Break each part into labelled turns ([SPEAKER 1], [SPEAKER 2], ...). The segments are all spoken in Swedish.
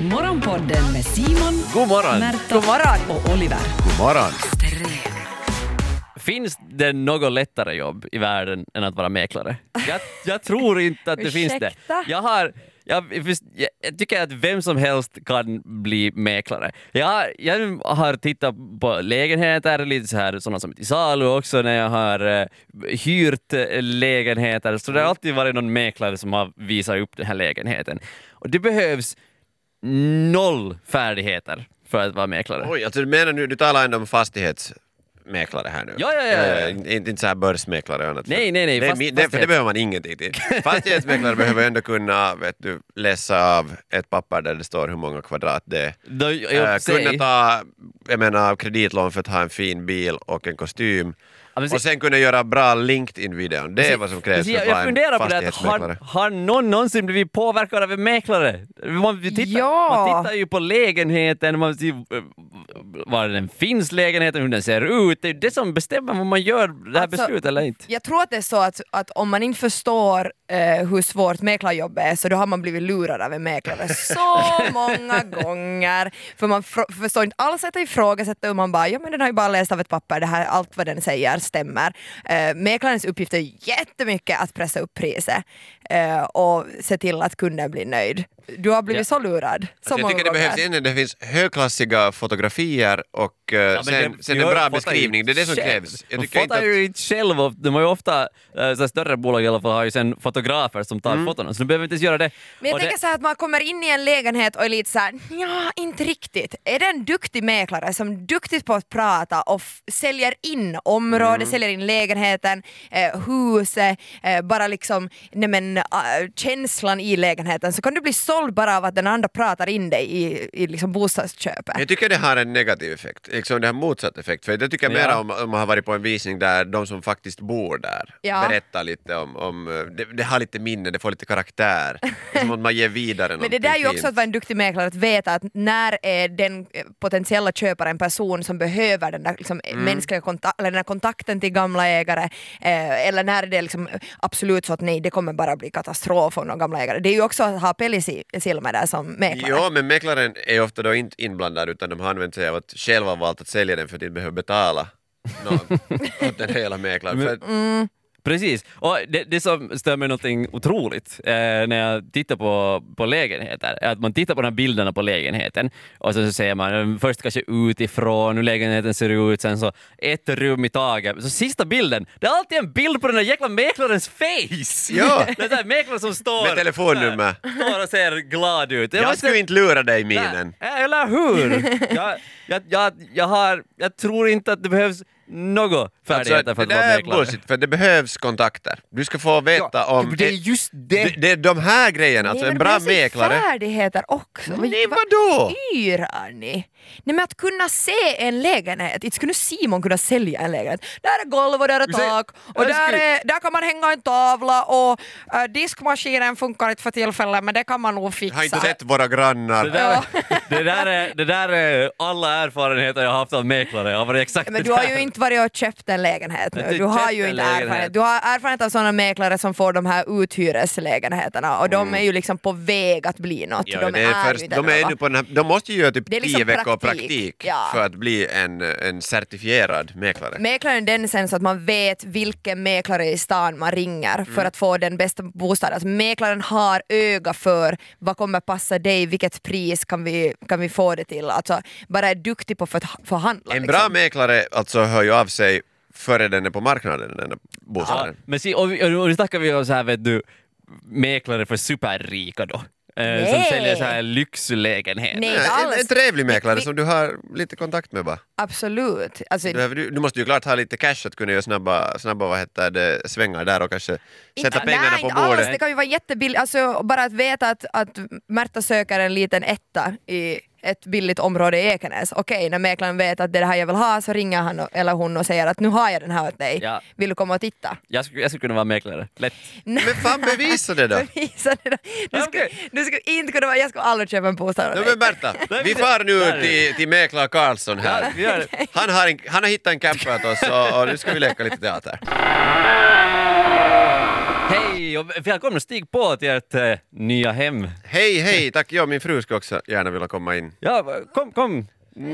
[SPEAKER 1] Morgonpodden med Simon,
[SPEAKER 2] God morgon!
[SPEAKER 1] Märta
[SPEAKER 3] God morgon.
[SPEAKER 1] och Oliver.
[SPEAKER 4] God morgon.
[SPEAKER 2] Finns det något lättare jobb i världen än att vara mäklare? Jag, jag tror inte att det finns det.
[SPEAKER 3] Ursäkta?
[SPEAKER 2] Jag, har, jag, visst, jag, jag tycker att vem som helst kan bli mäklare. Jag, har- jag har tittat på lägenheter, lite så här, sådana som är till salu också, när jag har eh, hyrt eh, lägenheter. Så det har alltid varit någon mäklare som har visat upp den här lägenheten. Och det behövs noll färdigheter för att vara mäklare.
[SPEAKER 4] Oj, alltså du menar nu, du talar ändå om fastighetsmäklare här nu?
[SPEAKER 2] Ja, ja, ja, ja.
[SPEAKER 4] Inte, inte så här börsmäklare och annat.
[SPEAKER 2] Nej, nej, nej,
[SPEAKER 4] Det, är
[SPEAKER 2] fast-
[SPEAKER 4] mi- det, för
[SPEAKER 2] fastighets-
[SPEAKER 4] det behöver man ingenting till. Fastighetsmäklare behöver ändå kunna, vet du, läsa av ett papper där det står hur många kvadrat det är.
[SPEAKER 2] Då, jag,
[SPEAKER 4] Äh,
[SPEAKER 2] säger-
[SPEAKER 4] kunna ta, jag menar, kreditlån för att ha en fin bil och en kostym.
[SPEAKER 2] Ja, men se-
[SPEAKER 4] och sen kunna göra bra LinkedIn-videon. Det är vad som krävs
[SPEAKER 2] Precis,
[SPEAKER 4] för att
[SPEAKER 2] jag, jag
[SPEAKER 4] vara
[SPEAKER 2] funderar
[SPEAKER 4] en
[SPEAKER 2] på det, att har,
[SPEAKER 4] fastighetsmäklare.
[SPEAKER 2] har någon någonsin blivit påverkad av en mäklare? Man, vi tittar,
[SPEAKER 3] Ja.
[SPEAKER 2] man tittar ju på lägenheten, man ser eh, var den finns, lägenheten, hur den ser ut. Det är ju det som bestämmer om man gör det här
[SPEAKER 3] Alltså,
[SPEAKER 2] beslutet eller inte.
[SPEAKER 3] Jag tror att det är så att, att om man inte förstår eh, hur svårt mäklarjobbet är så då har man blivit lurad av en mäklare så många gånger. För man fr- förstår inte alls att ifrågasätta och man bara ja men den har ju bara läst av ett papper, det här, allt vad den säger stämmer. Eh, mäklarens uppgift är jättemycket att pressa upp priset eh, och se till att kunden blir nöjd. Du har blivit så lurad så
[SPEAKER 4] Alltså jag
[SPEAKER 3] många
[SPEAKER 4] tycker det
[SPEAKER 3] gånger.
[SPEAKER 4] behövs ännu, det finns högklassiga fotografier och eh,
[SPEAKER 2] Ja, men
[SPEAKER 4] sen,
[SPEAKER 2] det-
[SPEAKER 4] sen
[SPEAKER 2] de
[SPEAKER 4] en bra
[SPEAKER 2] fotar
[SPEAKER 4] beskrivning,
[SPEAKER 2] ju
[SPEAKER 4] det är det som
[SPEAKER 2] själv.
[SPEAKER 4] krävs. Jag
[SPEAKER 2] de
[SPEAKER 4] tycker
[SPEAKER 2] fotar
[SPEAKER 4] inte att,
[SPEAKER 2] ju inte själv, och de har ju ofta, eh, så här större bolag i alla fall, har ju sen fotografer som tar fotona, så de behöver inte ens göra det.
[SPEAKER 3] Mm. Men jag
[SPEAKER 2] Och det-
[SPEAKER 3] tänker så här att man kommer in i en lägenhet och är lite så här, ja inte riktigt. Är det en duktig mäklare som är duktig på att prata och f- säljer in området,
[SPEAKER 2] Mm.
[SPEAKER 3] säljer in lägenheten, eh, huset, eh, bara liksom nej men, eh, känslan i lägenheten så kan du bli såld bara av att den andra pratar in dig i, i liksom bostadsköpet.
[SPEAKER 4] jag tycker det har en negativ effekt, liksom det har motsatt effekt. För det tycker jag
[SPEAKER 2] Ja.
[SPEAKER 4] mera om, om man har varit på en visning där de som faktiskt bor där
[SPEAKER 3] Ja.
[SPEAKER 4] berättar lite om, om eh, det, det har lite minne, det får lite karaktär. Det är som att man ger vidare
[SPEAKER 3] Men det där är ju
[SPEAKER 4] någonting
[SPEAKER 3] också att vara en duktig mäklare, att veta att när är den eh, potentiella köparen person som behöver den där liksom, eh, mänskliga konta- eller den där kontakten till gamla ägare, eh, eller när är det liksom eh, absolut så att nej, det kommer bara bli katastrof om någon gamla ägare. Det är ju också att ha päls i i silmer där som mäklare.
[SPEAKER 4] Ja, men mäklaren är ofta då inte inblandad utan de har använt sig av att själva valt att sälja den för att de inte behöver betala någon åt den hela mäklaren. För att-
[SPEAKER 3] Mm.
[SPEAKER 2] Precis, och det, det som stör mig någonting otroligt eh, när jag tittar på, på lägenheter är att man tittar på de här bilderna på lägenheten och sen så ser man eh, först kanske utifrån hur lägenheten ser ut, sen så ett rum i taget. Så sista bilden, det är alltid en bild på den där jäkla mäklarens face!
[SPEAKER 4] Ja.
[SPEAKER 2] Det är så här mäklaren som står,
[SPEAKER 4] Med telefonnummer.
[SPEAKER 2] står och ser glad ut.
[SPEAKER 4] Jag
[SPEAKER 2] måste-
[SPEAKER 4] skulle inte lura
[SPEAKER 2] Nej,
[SPEAKER 4] dig minen.
[SPEAKER 2] äh, Eller hur? jag, jag, jag, jag, har, jag tror inte att det behövs något färdigheter för att
[SPEAKER 4] Alltså, det
[SPEAKER 2] vara
[SPEAKER 4] där är
[SPEAKER 2] mäklare.
[SPEAKER 4] bullshit, för det behövs kontakter. Du ska få veta om...
[SPEAKER 3] typ,
[SPEAKER 2] det är just det.
[SPEAKER 4] Det, det är de här grejerna, alltså
[SPEAKER 3] Nej,
[SPEAKER 4] en
[SPEAKER 3] men det
[SPEAKER 4] bra
[SPEAKER 3] behövs ju
[SPEAKER 4] mäklare.
[SPEAKER 3] färdigheter också. Vad-
[SPEAKER 4] Nej,
[SPEAKER 3] vad
[SPEAKER 4] vadå?
[SPEAKER 3] Yrar ni? Nej men att kunna se en lägenhet, inte skulle Simon kunna sälja en lägenhet. Där är golv och där är
[SPEAKER 2] Du säger-
[SPEAKER 3] tak och
[SPEAKER 2] jag
[SPEAKER 3] där,
[SPEAKER 2] skulle-
[SPEAKER 3] är, där kan man hänga en tavla och äh, diskmaskinen funkar inte för tillfället men det kan man nog
[SPEAKER 4] Jag har inte
[SPEAKER 3] fixa.
[SPEAKER 4] sett våra grannar.
[SPEAKER 2] Det där, det, där är, det där är alla erfarenheter jag har haft av mäklare. Jag har varit exakt
[SPEAKER 3] Men
[SPEAKER 2] det
[SPEAKER 3] du har
[SPEAKER 2] där.
[SPEAKER 3] ju inte varit och köpt en lägenhet
[SPEAKER 2] Jag har
[SPEAKER 3] nu.
[SPEAKER 2] inte
[SPEAKER 3] Du har
[SPEAKER 2] köpt
[SPEAKER 3] ju
[SPEAKER 2] en
[SPEAKER 3] inte
[SPEAKER 2] lägenhet.
[SPEAKER 3] erfarenhet. Du har erfarenhet av sådana mäklare som får de här uthyreslägenheterna och de är ju liksom på väg att bli något.
[SPEAKER 4] Mm. Ja,
[SPEAKER 3] de
[SPEAKER 4] det är
[SPEAKER 3] ju
[SPEAKER 4] först,
[SPEAKER 3] inte
[SPEAKER 4] de,
[SPEAKER 3] något.
[SPEAKER 4] är nu på den här, de måste ju göra typ
[SPEAKER 3] Det är
[SPEAKER 4] tio
[SPEAKER 3] liksom
[SPEAKER 4] veckor
[SPEAKER 3] praktik.
[SPEAKER 4] praktik,
[SPEAKER 3] Ja.
[SPEAKER 4] för att bli en, en certifierad mäklare.
[SPEAKER 3] Mäklaren den sen så att man vet vilken mäklare i stan man ringer för
[SPEAKER 4] Mm.
[SPEAKER 3] att få den bästa bostaden. Alltså mäklaren har öga för vad kommer passa dig, vilket pris kan vi, kan vi få det till. Alltså bara är duktig på för att förhandla.
[SPEAKER 4] En
[SPEAKER 3] liksom.
[SPEAKER 4] bra mäklare alltså hör ju av sig före den är på marknaden, den där
[SPEAKER 2] Ja,
[SPEAKER 4] bostaden.
[SPEAKER 2] men se, och, vi- och nu snackar vi om så här, vet du, mäklare för superrika då. Eh, som
[SPEAKER 3] Nej.
[SPEAKER 2] säljer så här lyxlägenheter.
[SPEAKER 3] Nej.
[SPEAKER 4] Nej,
[SPEAKER 3] alls.
[SPEAKER 4] en, en trevlig mäklare
[SPEAKER 3] Vi-
[SPEAKER 4] som du har lite kontakt med bara.
[SPEAKER 3] Absolut. Alltså,
[SPEAKER 4] Du, behöver- du, du måste ju klart ha lite cash att kunna göra snabba, snabba vad heter det, svängar där och kanske sätta
[SPEAKER 3] Inte-
[SPEAKER 4] pengarna
[SPEAKER 3] nej,
[SPEAKER 4] på
[SPEAKER 3] inte
[SPEAKER 4] bordet.
[SPEAKER 3] Alls, det kan ju vara jättebilligt, alltså, bara att veta att, att Märta söker en liten etta i ett billigt område i Ekenäs. Okej, när mäklaren vet att det är det här jag vill ha så ringer han och- eller hon och säger att nu har jag den här åt dig,
[SPEAKER 2] Ja.
[SPEAKER 3] vill du komma och titta?
[SPEAKER 2] Jag, skulle, jag skulle kunna vara mäklare. Lätt.
[SPEAKER 4] Men fan bevisa det då!
[SPEAKER 3] Bevisa det då. Du skulle,
[SPEAKER 2] Okej.
[SPEAKER 3] du skulle inte kunna vara, jag skulle aldrig köpa en bostad
[SPEAKER 4] No,
[SPEAKER 3] av dig.
[SPEAKER 4] men Berta,
[SPEAKER 2] Nej,
[SPEAKER 4] vi
[SPEAKER 2] men-
[SPEAKER 4] far
[SPEAKER 2] där är
[SPEAKER 4] nu till, till mäklare Karlsson
[SPEAKER 2] Ja,
[SPEAKER 4] här.
[SPEAKER 2] vi gör det.
[SPEAKER 4] Han har, en, han har hittat en camper åt oss och, och nu ska vi leka lite teater.
[SPEAKER 2] Hej och välkomna stig på till ert eh, nya hem.
[SPEAKER 4] Hej, hej, tack. Ja, min fru skulle också gärna vilja komma in.
[SPEAKER 2] Ja, va- kom, kom.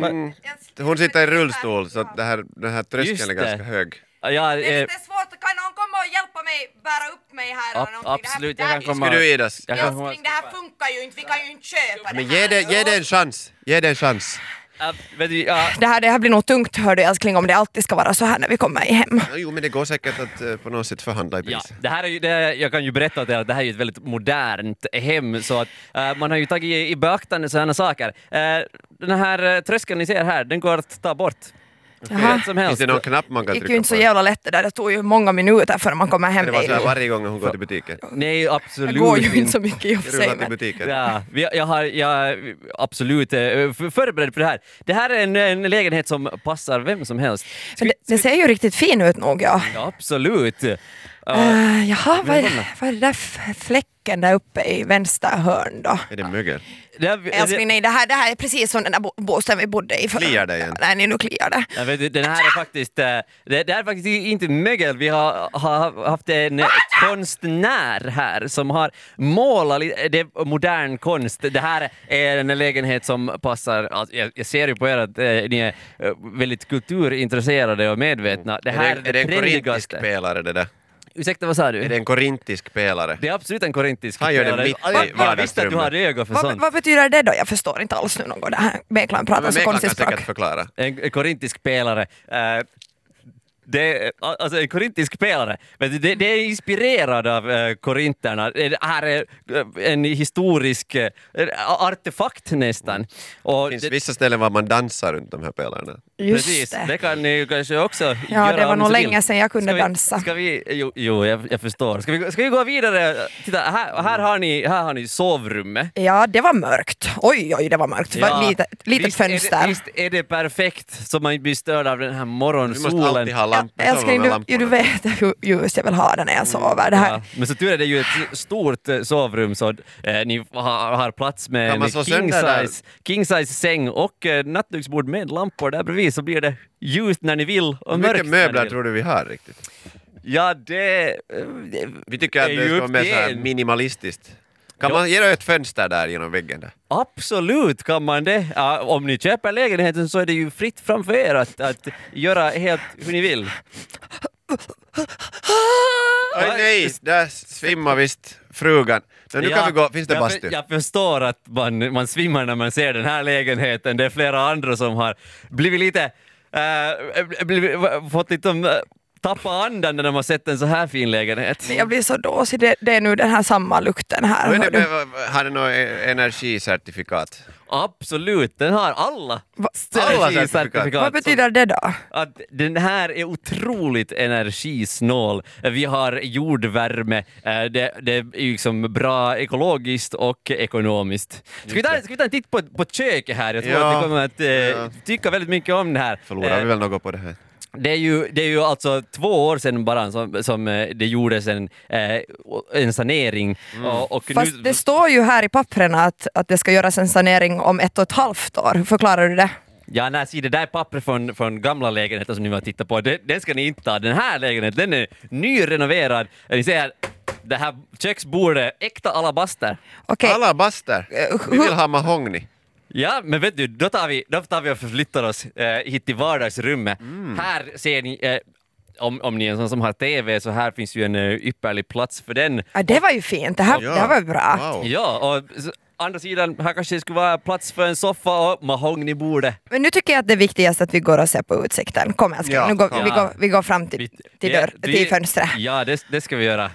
[SPEAKER 2] Va-
[SPEAKER 3] Mm.
[SPEAKER 4] Hon sitter i rullstol så att det här, den här
[SPEAKER 2] Just
[SPEAKER 4] tröskeln är
[SPEAKER 2] det.
[SPEAKER 4] ganska hög.
[SPEAKER 2] Ja,
[SPEAKER 3] Det är
[SPEAKER 2] eh,
[SPEAKER 3] lite svårt, kan någon komma och hjälpa mig bära upp mig här
[SPEAKER 2] ab-
[SPEAKER 3] eller någonting?
[SPEAKER 2] absolut,
[SPEAKER 3] det här,
[SPEAKER 2] jag kan komma.
[SPEAKER 4] Ska du Idas?
[SPEAKER 2] Jag kan komma.
[SPEAKER 3] Älskling, det här funkar ju inte, vi kan ju inte köpa
[SPEAKER 4] Men
[SPEAKER 3] det
[SPEAKER 4] ge
[SPEAKER 3] här.
[SPEAKER 4] det, ge det en chans. Ge det en chans.
[SPEAKER 2] Ja, vet du, ja,
[SPEAKER 3] Det här, det här blir nog tungt hör du älskling om det alltid ska vara så här när vi kommer hem.
[SPEAKER 4] Ja, Jo, men det går säkert att eh, på något sätt förhandla i
[SPEAKER 2] Ja,
[SPEAKER 4] pris.
[SPEAKER 2] det här är ju, det, jag kan ju berätta att det här- det här är ju ett väldigt modernt hem så att eh, man har ju tagit i, i beaktande sådana saker. Eh, den här eh, tröskeln ni ser här, den går att ta bort.
[SPEAKER 3] Jaha.
[SPEAKER 2] Hur som
[SPEAKER 4] Finns
[SPEAKER 2] helst.
[SPEAKER 4] det någon knapp man
[SPEAKER 3] Det
[SPEAKER 4] kan
[SPEAKER 3] gick ju
[SPEAKER 4] trycka
[SPEAKER 3] inte så
[SPEAKER 4] på?
[SPEAKER 3] jävla lätt det där, det tog ju många minuter före man kommer hem.
[SPEAKER 4] Det var så här
[SPEAKER 3] Det
[SPEAKER 4] varje gång hon går till butiken.
[SPEAKER 2] Nej, absolut
[SPEAKER 3] går ju inte
[SPEAKER 2] inte.
[SPEAKER 3] så mycket i och för sig.
[SPEAKER 4] Rullar till
[SPEAKER 3] men-
[SPEAKER 4] butiken.
[SPEAKER 2] Ja, vi- jag, har, jag är absolut eh, för- förberedd på det här. Det här är en, en lägenhet som passar vem som helst. Ska-
[SPEAKER 3] Men det- Den ser ju riktigt fin ut nog ja.
[SPEAKER 2] Ja, absolut. Ja,
[SPEAKER 3] Eh, jaha, vad
[SPEAKER 2] Välkomna.
[SPEAKER 3] är, vad är det där f- fläcken där uppe i vänster hörn då?
[SPEAKER 4] Är det mögel?
[SPEAKER 2] det här-
[SPEAKER 3] Älskling, nej det här, det här är precis som den där bo- båten vi bodde i förra.
[SPEAKER 4] Kliar det igen?
[SPEAKER 3] Nej, nej, nu kliar det.
[SPEAKER 2] Jag vet, inte, den här är faktiskt, eh, det, det här är faktiskt inte mögel. Vi har, har haft en eh, konstnär här som har målat lite, det är modern konst. Det här är en lägenhet som passar, alltså, jag, jag ser ju på er att eh, ni är eh, väldigt kulturintresserade och medvetna. Det här
[SPEAKER 4] är det, är det en korintisk
[SPEAKER 2] trendigaste.
[SPEAKER 4] pelare det där?
[SPEAKER 2] Ursäkta, vad sa du?
[SPEAKER 4] Är det en korintisk pelare?
[SPEAKER 2] Det är absolut en korintisk
[SPEAKER 4] Han gör det
[SPEAKER 2] spelare.
[SPEAKER 4] mitt i
[SPEAKER 2] Jag- Jag visste att du
[SPEAKER 4] vardagsrummet.
[SPEAKER 2] hade ögon för
[SPEAKER 3] Vad,
[SPEAKER 2] sånt.
[SPEAKER 3] vad betyder det då? Jag förstår inte alls nu något det här. Meklan pratar
[SPEAKER 4] Men
[SPEAKER 2] Alltså,
[SPEAKER 3] så
[SPEAKER 4] Meklan kan
[SPEAKER 3] konstigt språk.
[SPEAKER 4] säkert förklara.
[SPEAKER 2] En en korintisk spelare. eh, det, alltså en korintisk spelare, vet du, det, det är inspirerad av eh, korinterna. Det här är eh, en historisk eh, artefakt nästan. Och
[SPEAKER 4] Det finns
[SPEAKER 2] det-
[SPEAKER 4] vissa ställen var man dansar runt de här pelarna.
[SPEAKER 3] Just
[SPEAKER 2] Precis,
[SPEAKER 3] det.
[SPEAKER 2] det. kan ni ju kanske också göra
[SPEAKER 3] Ja, det var
[SPEAKER 2] om ni
[SPEAKER 3] nog
[SPEAKER 2] så vill.
[SPEAKER 3] länge sedan jag kunde
[SPEAKER 2] ska vi,
[SPEAKER 3] dansa.
[SPEAKER 2] Ska vi, jo, jo jag, jag förstår. Ska vi, ska vi gå vidare? Titta, här, här, har ni, här har ni sovrummet.
[SPEAKER 3] Ja, det var mörkt. Oj, oj, det var mörkt. Det var lite, litet
[SPEAKER 2] visst
[SPEAKER 3] fönster.
[SPEAKER 2] Är det, visst är det perfekt så man inte blir störd av den här
[SPEAKER 4] Du måste alltid
[SPEAKER 2] morgonsolen.
[SPEAKER 4] ha
[SPEAKER 3] Ja,
[SPEAKER 4] lampor. så
[SPEAKER 3] älskling,
[SPEAKER 4] många
[SPEAKER 3] du,
[SPEAKER 4] lampor.
[SPEAKER 3] ju, du vet hur ljust jag vill ha det när jag sover. Det här.
[SPEAKER 2] Ja, men så tur är det ju ett stort eh, sovrum så eh, ni har, har plats med
[SPEAKER 4] Kan man
[SPEAKER 2] en
[SPEAKER 4] slå sönder där?
[SPEAKER 2] king-size king size säng och eh, nattduksbord med lampor där bredvid så blir det ljust när ni vill och
[SPEAKER 4] Hur
[SPEAKER 2] mörkt
[SPEAKER 4] mycket
[SPEAKER 2] när
[SPEAKER 4] möbler
[SPEAKER 2] ni vill.
[SPEAKER 4] tror du vi har riktigt?
[SPEAKER 2] Ja, det... eh, det-
[SPEAKER 4] Vi tycker att
[SPEAKER 2] är
[SPEAKER 4] det
[SPEAKER 2] ju
[SPEAKER 4] ska vara
[SPEAKER 2] upp
[SPEAKER 4] mer
[SPEAKER 2] till
[SPEAKER 4] så här
[SPEAKER 2] er.
[SPEAKER 4] minimalistiskt. Kan
[SPEAKER 2] Ja.
[SPEAKER 4] man ge dig ett fönster där genom väggen? Där?
[SPEAKER 2] Absolut kan man det. Ja, om ni köper lägenheten så är det ju fritt framför er att, att göra helt hur ni vill.
[SPEAKER 4] Oj
[SPEAKER 2] Ja,
[SPEAKER 4] nej, där svimmar visst frugan. Men nu kan vi gå, finns det
[SPEAKER 2] jag,
[SPEAKER 4] bastu?
[SPEAKER 2] Jag förstår att man, man svimmar när man ser den här lägenheten. Det är flera andra som har blivit lite... eh, blivit, fått lite... eh, tappa andan när de har sett en så här fin lägenhet.
[SPEAKER 3] Jag blir så dåsig. Det, det är nu den här samma lukten här.
[SPEAKER 4] Men
[SPEAKER 3] hör
[SPEAKER 4] det
[SPEAKER 3] du.
[SPEAKER 4] behöver- Har du något eh, energicertifikat?
[SPEAKER 2] Absolut, den har alla
[SPEAKER 3] Va-
[SPEAKER 4] Alla
[SPEAKER 2] certifikat.
[SPEAKER 4] certifikat.
[SPEAKER 3] Vad betyder det då?
[SPEAKER 2] att den här är otroligt energisnål. Vi har jordvärme, eh, det, det är ju liksom bra ekologiskt och ekonomiskt. Ska vi ta, ska vi ta en titt på, på köket här? Jag tror
[SPEAKER 4] Ja.
[SPEAKER 2] att ni kommer att eh,
[SPEAKER 4] Ja.
[SPEAKER 2] tycka väldigt mycket om det här.
[SPEAKER 4] Förlorar vi
[SPEAKER 2] Eh,
[SPEAKER 4] väl något på det här?
[SPEAKER 2] det är, ju, det är ju alltså två år sedan bara som, som eh, det gjordes en, eh, en sanering.
[SPEAKER 4] Mm.
[SPEAKER 2] Och, och
[SPEAKER 3] Fast det står ju här i pappren att, att det ska göras en sanering om ett och ett halvt år. Hur förklarar du det?
[SPEAKER 2] Ja, nej, se, det där pappret från, från gamla lägenheten som ni var och tittade på, den, den ska ni inte ta. Den här lägenheten, den är nyrenoverad. Ni ser, det här köksbordet, äkta alabaster.
[SPEAKER 3] Okej, Eh,
[SPEAKER 4] Alla baster! Vi vill ha mahogny.
[SPEAKER 2] Ja, men vet du, då tar vi, då tar vi och förflyttar oss eh, hit till vardagsrummet. Här ser ni, eh, om, om ni är en sån som har TV, så här finns ju en eh, ypperlig plats för den.
[SPEAKER 3] ja, det var ju fint. Det här, det här var ju bra.
[SPEAKER 4] Wow.
[SPEAKER 2] Ja, och s- andra sidan, här kanske det skulle vara plats för en soffa och mahognybordet.
[SPEAKER 3] Men nu tycker jag att det viktigaste är att vi går och ser på utsikten. Kom älskling,
[SPEAKER 4] Ja,
[SPEAKER 3] nu går,
[SPEAKER 4] kom.
[SPEAKER 3] vi, går, vi går fram till,
[SPEAKER 2] Vi-
[SPEAKER 3] till,
[SPEAKER 2] vi-
[SPEAKER 3] dörr,
[SPEAKER 2] vi-
[SPEAKER 3] till fönstret.
[SPEAKER 2] Ja, det, det ska vi göra.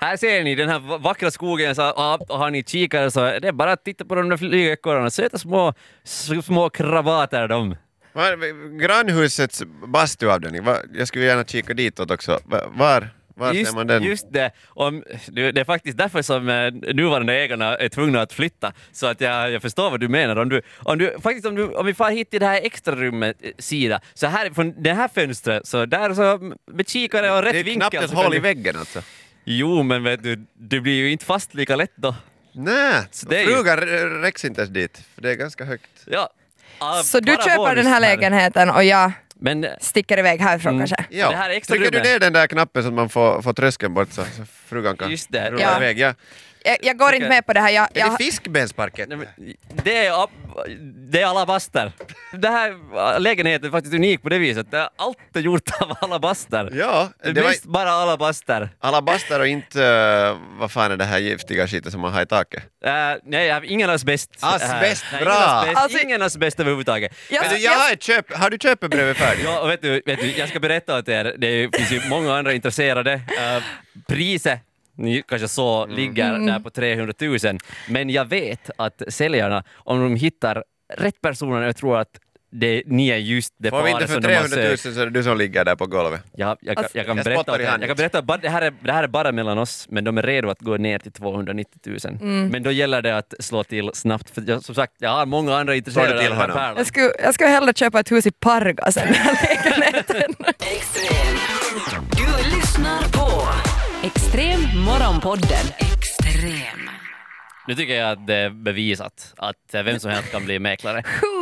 [SPEAKER 2] Här ser ni den här va- vackra skogen, så, ja, och har ni kikare så är det är bara att titta på de där flygekorrarna, söta små, s- små kravater de.
[SPEAKER 4] Var, grannhusets bastuavdelning, va- jag skulle gärna kika ditåt också. Va- Var, var ser
[SPEAKER 2] Just,
[SPEAKER 4] man den?
[SPEAKER 2] just det, Om, du, det är faktiskt därför som eh, nuvarande ägarna är tvungna att flytta, så att jag, jag förstår vad du menar. Om, du, om, du, faktiskt om, du, om vi far hit till det här extra rummet, eh, sida, så här från det här fönstret, så där så med kikare och rätt
[SPEAKER 4] det är
[SPEAKER 2] vinkel.
[SPEAKER 4] knappt ett
[SPEAKER 2] så kan
[SPEAKER 4] hål i
[SPEAKER 2] du-
[SPEAKER 4] väggen alltså.
[SPEAKER 2] Jo, men vet du, du blir ju inte fast lika lätt då.
[SPEAKER 4] Nej,
[SPEAKER 2] det är ju-
[SPEAKER 4] frugan r- räcks inte ens dit, för det är ganska högt.
[SPEAKER 2] Ja. Ah,
[SPEAKER 3] Så du
[SPEAKER 2] bara
[SPEAKER 3] köper
[SPEAKER 2] bonus
[SPEAKER 3] den här lägenheten och jag...
[SPEAKER 2] Men
[SPEAKER 3] sticker iväg härifrån
[SPEAKER 2] Mm.
[SPEAKER 3] kanske.
[SPEAKER 4] Ja.
[SPEAKER 2] Det här är extra
[SPEAKER 4] Trycker du
[SPEAKER 2] rummet.
[SPEAKER 4] ner den där knappen så att man får, får tröskeln bort så så frugan kan
[SPEAKER 2] Just det.
[SPEAKER 4] rulla
[SPEAKER 3] Ja.
[SPEAKER 4] iväg? Ja.
[SPEAKER 3] Jag, jag går inte med på det här. Jag,
[SPEAKER 4] Är det
[SPEAKER 3] jag,
[SPEAKER 4] fiskbensparkett?
[SPEAKER 2] Nej, men det är, upp, det är alabaster. Den här äh, lägenheten är faktiskt unik på det viset. Det är allt är gjort av alabaster.
[SPEAKER 4] Ja,
[SPEAKER 2] det är
[SPEAKER 4] det var-
[SPEAKER 2] mest bara alabaster.
[SPEAKER 4] Alabaster och inte, eh, vad fan är det här giftiga skiten som man har i taket?
[SPEAKER 2] Äh, nej, jag har ingen asbest. här.
[SPEAKER 4] Asbest,
[SPEAKER 2] Nej,
[SPEAKER 4] bra.
[SPEAKER 2] Ingen asbest,
[SPEAKER 3] Alltså-
[SPEAKER 2] ingen asbest överhuvudtaget.
[SPEAKER 3] jag,
[SPEAKER 4] Men du, jag
[SPEAKER 3] jag,
[SPEAKER 4] har, ett köp, har du köpebrevet färdigt?
[SPEAKER 2] Ja, och vet du, vet du, jag ska berätta åt er, det är- finns ju många andra intresserade. Äh, priset, ni kanske så
[SPEAKER 4] Mm.
[SPEAKER 2] ligger där på 300 000. Men jag vet att säljarna, om de hittar rätt personer, jag tror att det, ni är just det
[SPEAKER 4] Får vi inte
[SPEAKER 2] paret
[SPEAKER 4] för
[SPEAKER 2] som de har
[SPEAKER 4] 300 000
[SPEAKER 2] sökt.
[SPEAKER 4] så är det du som ligger där på golvet.
[SPEAKER 2] Ja, jag, kan-
[SPEAKER 3] Alltså-
[SPEAKER 2] jag kan
[SPEAKER 4] Jag
[SPEAKER 2] berätta,
[SPEAKER 4] spottar
[SPEAKER 2] att
[SPEAKER 4] i
[SPEAKER 2] jag,
[SPEAKER 4] handen.
[SPEAKER 2] jag kan berätta bara, det, här är, det här är bara mellan oss, men de är redo att gå ner till 290 000. Men då gäller det att slå till snabbt, för jag, som sagt, jag har många andra intresserade
[SPEAKER 4] till
[SPEAKER 2] av den här
[SPEAKER 4] honom.
[SPEAKER 2] pärlan.
[SPEAKER 3] jag, skulle, jag skulle hellre köpa ett hus i Pargas än den här lägenheten.
[SPEAKER 1] Extrem. Du lyssnar på Extrem Morgonpodden. Extrem.
[SPEAKER 2] Nu tycker jag att det är bevisat att eh, vem som helst kan bli mäklare.
[SPEAKER 3] Hur?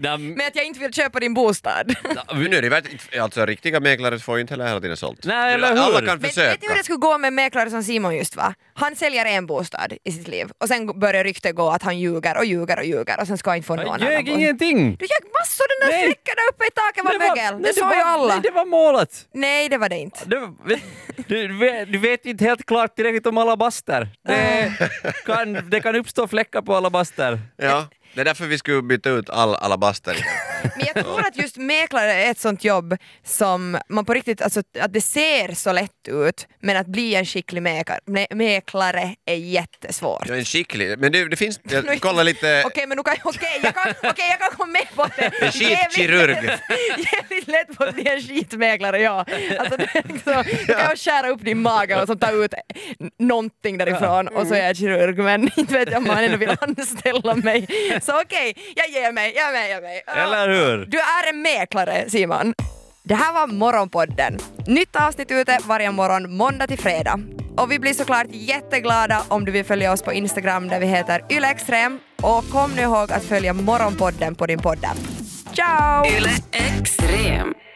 [SPEAKER 2] Nej,
[SPEAKER 3] Med att jag inte vill köpa din bostad.
[SPEAKER 4] Men nu är det värt, alltså riktiga mäklare får ju inte heller hela tiden sålt.
[SPEAKER 2] Nej, eller hur?
[SPEAKER 4] Alla kan
[SPEAKER 3] Men vet ni hur
[SPEAKER 4] försöka.
[SPEAKER 3] det skulle gå med en mäklare som Simon just va? Han säljer en bostad i sitt liv och sen börjar ryktet gå att han ljuger och ljuger och ljuger och sen ska han inte få någon
[SPEAKER 2] Jag
[SPEAKER 3] annan
[SPEAKER 2] ljög
[SPEAKER 3] bostad.
[SPEAKER 2] ingenting!
[SPEAKER 3] Du ljög massor, den där
[SPEAKER 2] Nej.
[SPEAKER 3] fläcken där uppe i taket var mögel. Det
[SPEAKER 2] nej,
[SPEAKER 3] sa
[SPEAKER 2] var-
[SPEAKER 3] ju alla.
[SPEAKER 2] Nej, det var målet!
[SPEAKER 3] Nej, det var det inte.
[SPEAKER 2] Det var- vet- Du, du vet- du vet inte helt klart tillräckligt om alabaster. Det kan, det kan uppstå fläckar på alabaster.
[SPEAKER 4] Ja. Det är därför vi skulle byta ut all alabaster.
[SPEAKER 3] Men jag tror att just mäklare är ett sånt jobb som man på riktigt, alltså att det ser så lätt ut men att bli en skicklig mäkar- mä- mäklare är jättesvårt.
[SPEAKER 4] Jag är en skicklig, men du, det finns,
[SPEAKER 3] Nu-
[SPEAKER 4] jag kollar lite,
[SPEAKER 3] Okej, men nu kan, okej, jag kan, okej, jag kan komma med på det.
[SPEAKER 4] En skitkirurg.
[SPEAKER 3] Jävligt- Jävligt lätt på att bli en skitmäklare, ja. Alltså, det är liksom, du kan jag skära upp din mage och så ta ut n- någonting därifrån och så är jag kirurg, men inte vet jag om han ändå vill anställa mig. Så okej, jag ger mig, jag är med, jag är med. Ja.
[SPEAKER 2] Eller hur?
[SPEAKER 3] Du är en mäklare, Simon. Det här var Morgonpodden. Nytt avsnitt ute varje morgon måndag till fredag. Och vi blir såklart jätteglada om du vill följa oss på Instagram där vi heter ylextrem. Och kom nu ihåg att följa Morgonpodden på din podd. Ciao!
[SPEAKER 1] Yle Extrem.